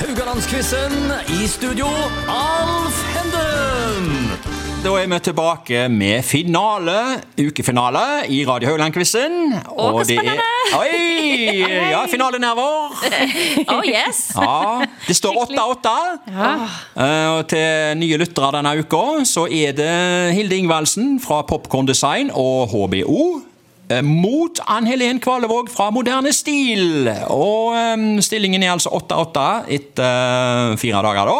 Rogalandsquizen. I studio, Alf Henden. Da er vi tilbake med finale, ukefinale i Radio Haugland-quizen. Å, hvor spennende! Oi! Ja, finalenerver. Oh yes! Ja, det står 8-8. Eh, Og til nye lyttere denne uka så er det Hilde Ingvaldsen fra Popcorn Design og HBO. eh, Mot Ann Helen Kvalevåg fra Moderne Stil. Og eh, stillingen er altså 8-8 etter eh, fire dager, da.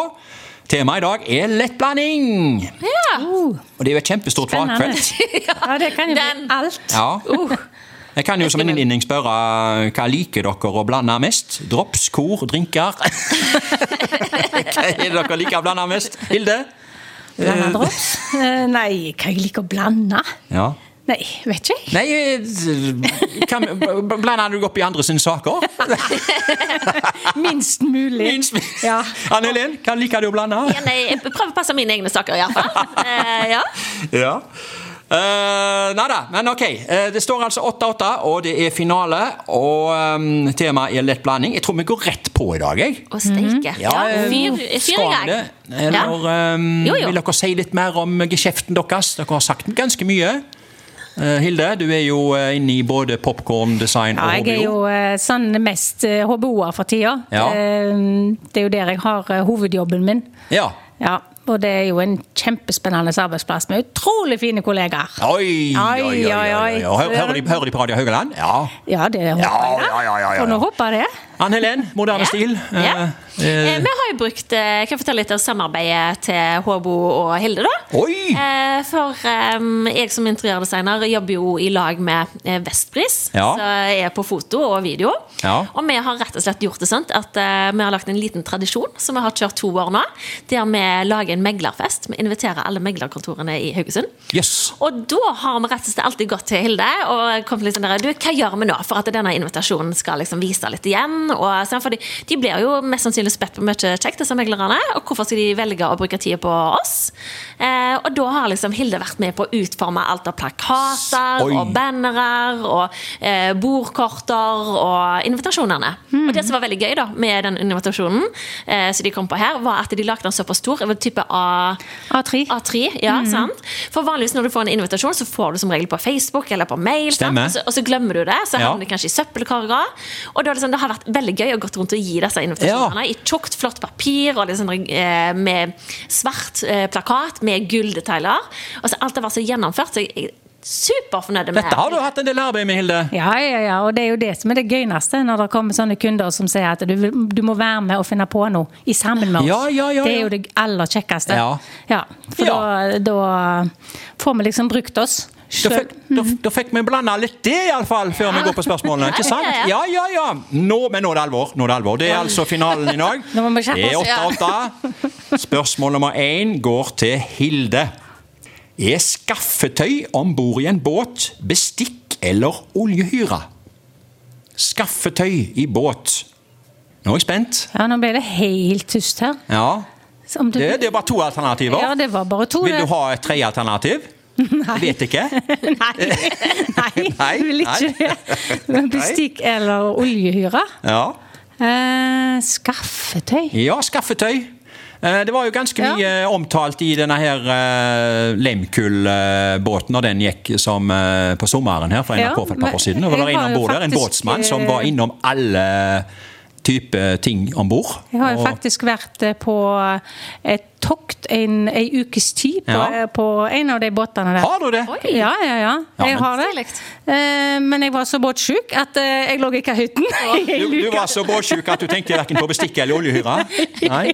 Temaet i dag er lettblanding. Ja. Og det er jo et kjempestort Spennende. fagfelt. Ja, det kan jo bli Den. alt. Ja. Uh. Jeg kan jo som en innledning spørre hva liker dere å blande mest? Drops, kor, drinker? hva er det dere liker å blande mest? Hilde? Blanda drops? Eh, Nei, hva jeg liker å blande? Ja. Nei, vet ikke jeg. Nei, eh, kan, blander du opp i andre sine saker? Minst mulig. Minst- Ja. Anne Helen, hva liker du å blande? Ja, nei, jeg prøver å passe mine egne saker, iallfall. Eh, ja. Ja. Uh, nei da, men ok. Eh, det står altså 8-8, og det er finale. Og eh, temaet er lett blanding. Jeg tror vi går rett på i dag, jeg. Og steike. Ja, eh, fyr, fyr i skal vi gang. det? Eller ehm, Jo, jo. vil dere si litt mer om geskjeften deres? Dere har sagt ganske mye. Eh, Hilde, du er jo eh, inne i både popkorndesign Ja, og jeg er HBO. jo eh, sånn mest eh, HBO-er for tida. Ja. Eh, Det er jo der jeg har eh, hovedjobben min. Ja. Ja, og det er jo en kjempespennende arbeidsplass med utrolig fine kollegaer. Oi, oi, oi. oi, oi. Og hø- Hører, de, hører de på Radio Haugaland? Ja. Ja, det håper Ja, jeg. da. ja, ja, ja, ja. For nå håper jeg det. Ann Helen, moderne Ja. stil. Eh, Ja. eh, Eh, vi har jo brukt eh, Kan jeg fortelle litt om samarbeidet til Håbo og Hilde, da? Oi! Eh, for eh, jeg som interiørdesigner jobber jo i lag med eh, Vestbris, Ja. som er på foto og video. Ja. Og vi har rett og slett gjort det sånn at eh, vi har lagt en liten tradisjon som vi har kjørt to år nå, der vi lager en meglerfest. Vi inviterer alle meglerkontorene i Haugesund. Yes. Og da har vi rett og slett alltid gått til Hilde og kommet litt sånn der, du, hva gjør vi nå for at denne invitasjonen skal liksom vise litt igjen? Og, sånn, for de, de blir jo mest sannsynlig spett på mye kjekt, disse meglerne. Og hvorfor skal de velge å bruke tida på oss? Eh, og da har liksom Hilde vært med på å utforme alt av plakater Oi. og bannere og eh, bordkorter og invitasjonene. Hmm. Og det som var veldig gøy da med den invitasjonen eh, som de kom på her, var at de lagde den såpass stor. Jeg vil type A A3. A3, ja, Mm. sant? For vanligvis når du får en invitasjon, så får du som regel på Facebook eller på mail. Sant? Stemmer. Og, så, og så glemmer du det, så Ja. havner du kanskje i søppelkarga. Og da er det, sånn, det har vært veldig gøy å gått rundt og gi disse invitasjonene i tjukt, flott papir og litt sånn, eh, med svart eh, plakat med gulldetaljer. Og så alt har vært så gjennomført, så jeg er superfornøyd med Dette har du hatt en del arbeid med, Hilde. Ja, ja, ja, og det er jo det som er det gøyeste, når det kommer sånne kunder som sier at du, vil- du må være med og finne på noe i sammen med oss. Ja, ja, ja, Det er ja. jo det aller kjekkeste. Ja. Ja, for Ja. Da, da får vi liksom brukt oss. Da Selv. fikk, da, da fikk vi blanda litt det, iallfall, før vi går på spørsmålene. Ikke sant? Ja, Ja, ja, ja. Nå, men nå er det alvor. Nå er Det alvor. Det er altså finalen i dag. Nå må vi skjerpe Det er oss, ja. 8-8. Spørsmål nummer én går til Hilde. Er skaffetøy om bord i en båt bestikk eller oljehyre? Skaffetøy i båt. Nå er jeg spent. Ja, nå ble det helt tyst her. Ja. Så om du- Det, det var to alternativer. Ja, det var bare to. Vil du det. ha et tredje alternativ? Nei. Vet ikke. Nei, Nei, du vil nei. ikke det. Bestikk eller oljehyre. Ja. Eh, skaffetøy. Ja, skaffetøy. Eh, Det var jo ganske Ja. mye eh, omtalt i denne her eh, Lemkull-båten når den gikk som eh, på sommeren her fra Ja, NRK for et par år men siden. Og det var jeg en har ombord jo der, en faktisk, båtsmann som eh, var innom alle typer ting om bord. Jeg har jo Og- faktisk vært eh, på eh, et tokt en, ei ukes tid på, eh, Ja. på en av de båtene der. Har du det? Oi. Ja, ja, ja. Ja, Jeg men- har det. Stilig. Eh, Men jeg var så båtsjuk at eh, jeg lå ikke i hytten. Du, du var så båtsjuk at du tenkte verken på bestikk eller oljehyre? Nei?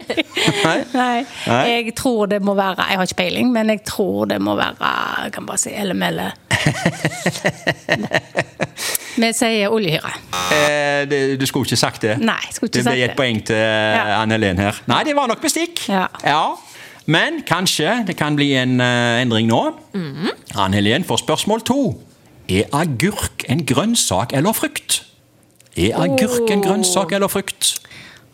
Nei? Nei. Nei. Jeg tror det må være Jeg har ikke peiling, men jeg tror det må være Jeg kan bare si LML. Vi sier oljehyre. Eh, det, du skulle ikke sagt det. Nei, jeg skulle ikke det ble sagt gitt det. poeng til eh, Ja. Anne Helen her. Nei, det var nok bestikk. Ja. Men kanskje det kan bli en eh, endring nå. Mhm. Anne Helen får spørsmål to. Er agurk en grønnsak eller frukt? Er agurk en grønnsak eller frukt?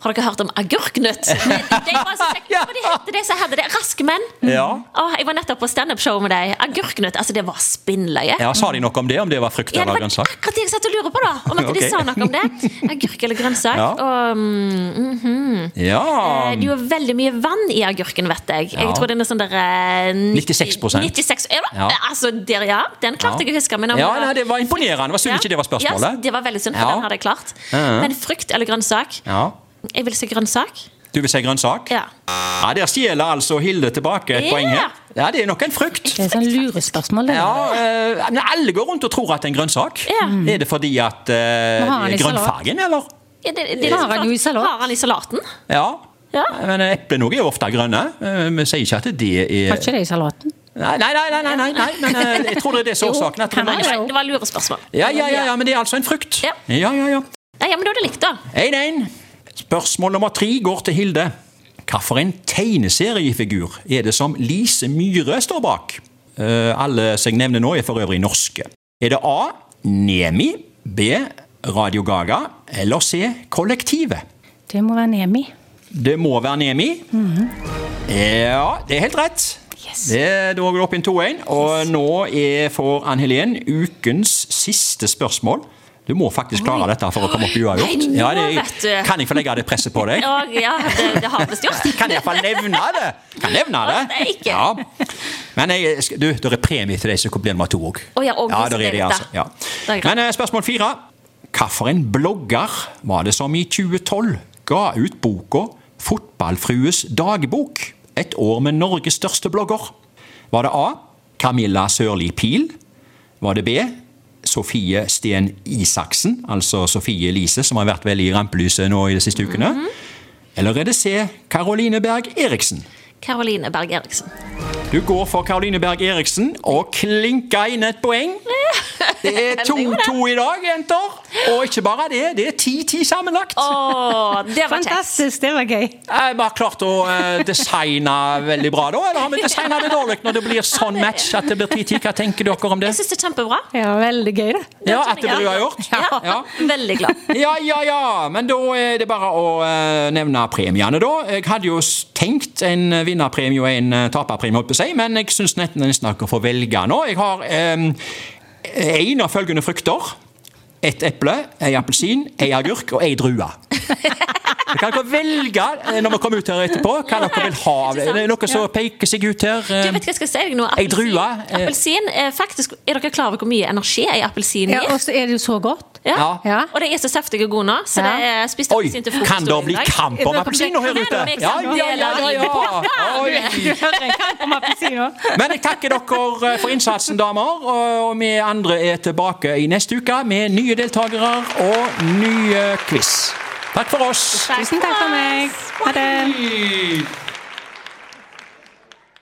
Har dere hørt om agurknøtt? De var så kjekke. Hva de heter de som hadde det? Raske menn? Ja. Åh, jeg var nettopp på standup-show med dem. Agurknøtt. Altså, det var spinnløye. Ja, Sa de noe om det, om det var frukt Ja, det eller var grønnsak? akkurat det jeg satt og lurer på, da. Om at Ok. de sa noe om det. Agurk eller grønnsak. Ja. Og, mm, mhm. Eh, Ja. Det er jo veldig mye vann i agurken, vet jeg. Ja. Jeg tror den er sånn der eh, 96%. 96 ja, Ja. Altså, der, ja. Den klarte Ja. jeg å huske. Men om Ja, nei, det var imponerende. Det var synd ikke det var spørsmålet. Ja, det var veldig synd, for Ja. den hadde jeg klart. Ja. Men frukt eller grønnsak? ja. Jeg vil si grønnsak. Du vil si grønnsak? Ja. Ja, Der stjeler altså Hilde tilbake et Ja. poeng her. Ja, Det er nok en frukt. Det er sånn lurespørsmål. det. Ja, eh, men Alle går rundt og tror at det er en grønnsak. Ja. Er det fordi at eh, har Mm. den i Grønnfargen, eller? Ja, det- det- Har han jo i salat? Har han i salaten? Ja. Ja. Men eh, eplene også er jo ofte grønne. Eh, Vi sier ikke at det er Har ikke det i salaten? Nei, nei, nei, nei, nei, nei. men eh, jeg tror det er det som er Jo, årsaken. at kan mange- være. Nei, det var lurespørsmål. Ja, ja, ja, ja, men det er altså en frukt. Ja. ja, ja. ja. Nei, ja, men da er det likt, da. 1-1. Spørsmål nummer tre går til Hilde. Hvilken tegneseriefigur er det som Lise Myhre står bak? Eh, alle som jeg nevner nå, er for øvrig norske. Er det A. Nemi? B. Radio Gaga? Eller C. Kollektivet? Det må være Nemi. Det må være Nemi. Mhm. Ja, det er helt rett. Det, da går det opp inn 2-1. Og nå er for Ann Helen ukens siste spørsmål. Du må faktisk klare dette for å komme opp i uavgjort. Nei, nå Ja, det- vet du. kan jeg få legge det presset på deg? Og, ja, det, det har vi visst gjort. Kan jeg få nevne det? Kan nevne Nei, det? ikke. Ja. Men jeg, skal- du, det er premie til de som blir nummer to òg. Å, ja, og det er det, dette. altså. Ja. Det er greit. Men eh, spørsmål fire. Hvilken blogger var det som i 2012 ga ut boka 'Fotballfrues dagbok'? Et år med Norges største blogger. Var det A. Camilla Sørli Pil? Var det B. Sofie Sten Isaksen, altså Sofie Elise, som har vært veldig i rampelyset nå i de siste ukene? Mhm. Eller er det C. Caroline Berg Eriksen? Karoline Berg Eriksen. Du går for Karoline Berg Eriksen og klinker inn et poeng. Det er 2-2 i dag, jenter. Og ikke bare det, det er 10-10 sammenlagt. Å, det var kjekt. Fantastisk, det var gøy. Jeg har klart å eh, designe veldig bra da, eller har vi designet det dårlig når det blir sånn match at det blir 10-10? Hva tenker dere om det? Jeg syns det er kjempebra. Ja, veldig gøy, det. Ja, at det blir uavgjort? Ja. Ja. Veldig glad. Ja, ja, ja. Men da er det bare å eh, nevne premiene, da. Jeg hadde jo s- tenkt en eh, vinnerpremie og en eh, taperpremie, holdt på å si, men jeg syns nesten nesten dere får velge nå. Jeg har én av følgende frukter. Et eple, ei appelsin, ei agurk og ei drue. Så Kan dere velge eh, når vi kommer ut her etterpå, hva dere vil ha? Er det noe som peker seg ut her? Du eh? vet hva jeg skal si deg nå? Ei drue, Appelsin- eh. Appelsin er faktisk Er dere klar over hvor mye energi ei appelsin Ja, gir? og så er det jo så godt. Ja. Ja. Og de er så saftige og gode nå, så Ja. det er spist Oi, appelsin til frokost. kan det i bli dag. kamp om appelsiner her ute? Ja, ja, ja, ja, ja. Oi. Du hører en kamp om appelsiner. Men jeg takker dere eh, for innsatsen, damer. Og vi andre er tilbake i neste uke med nye deltakere og nye quiz. Takk for oss. Tusen takk for meg. Ha det. Hei.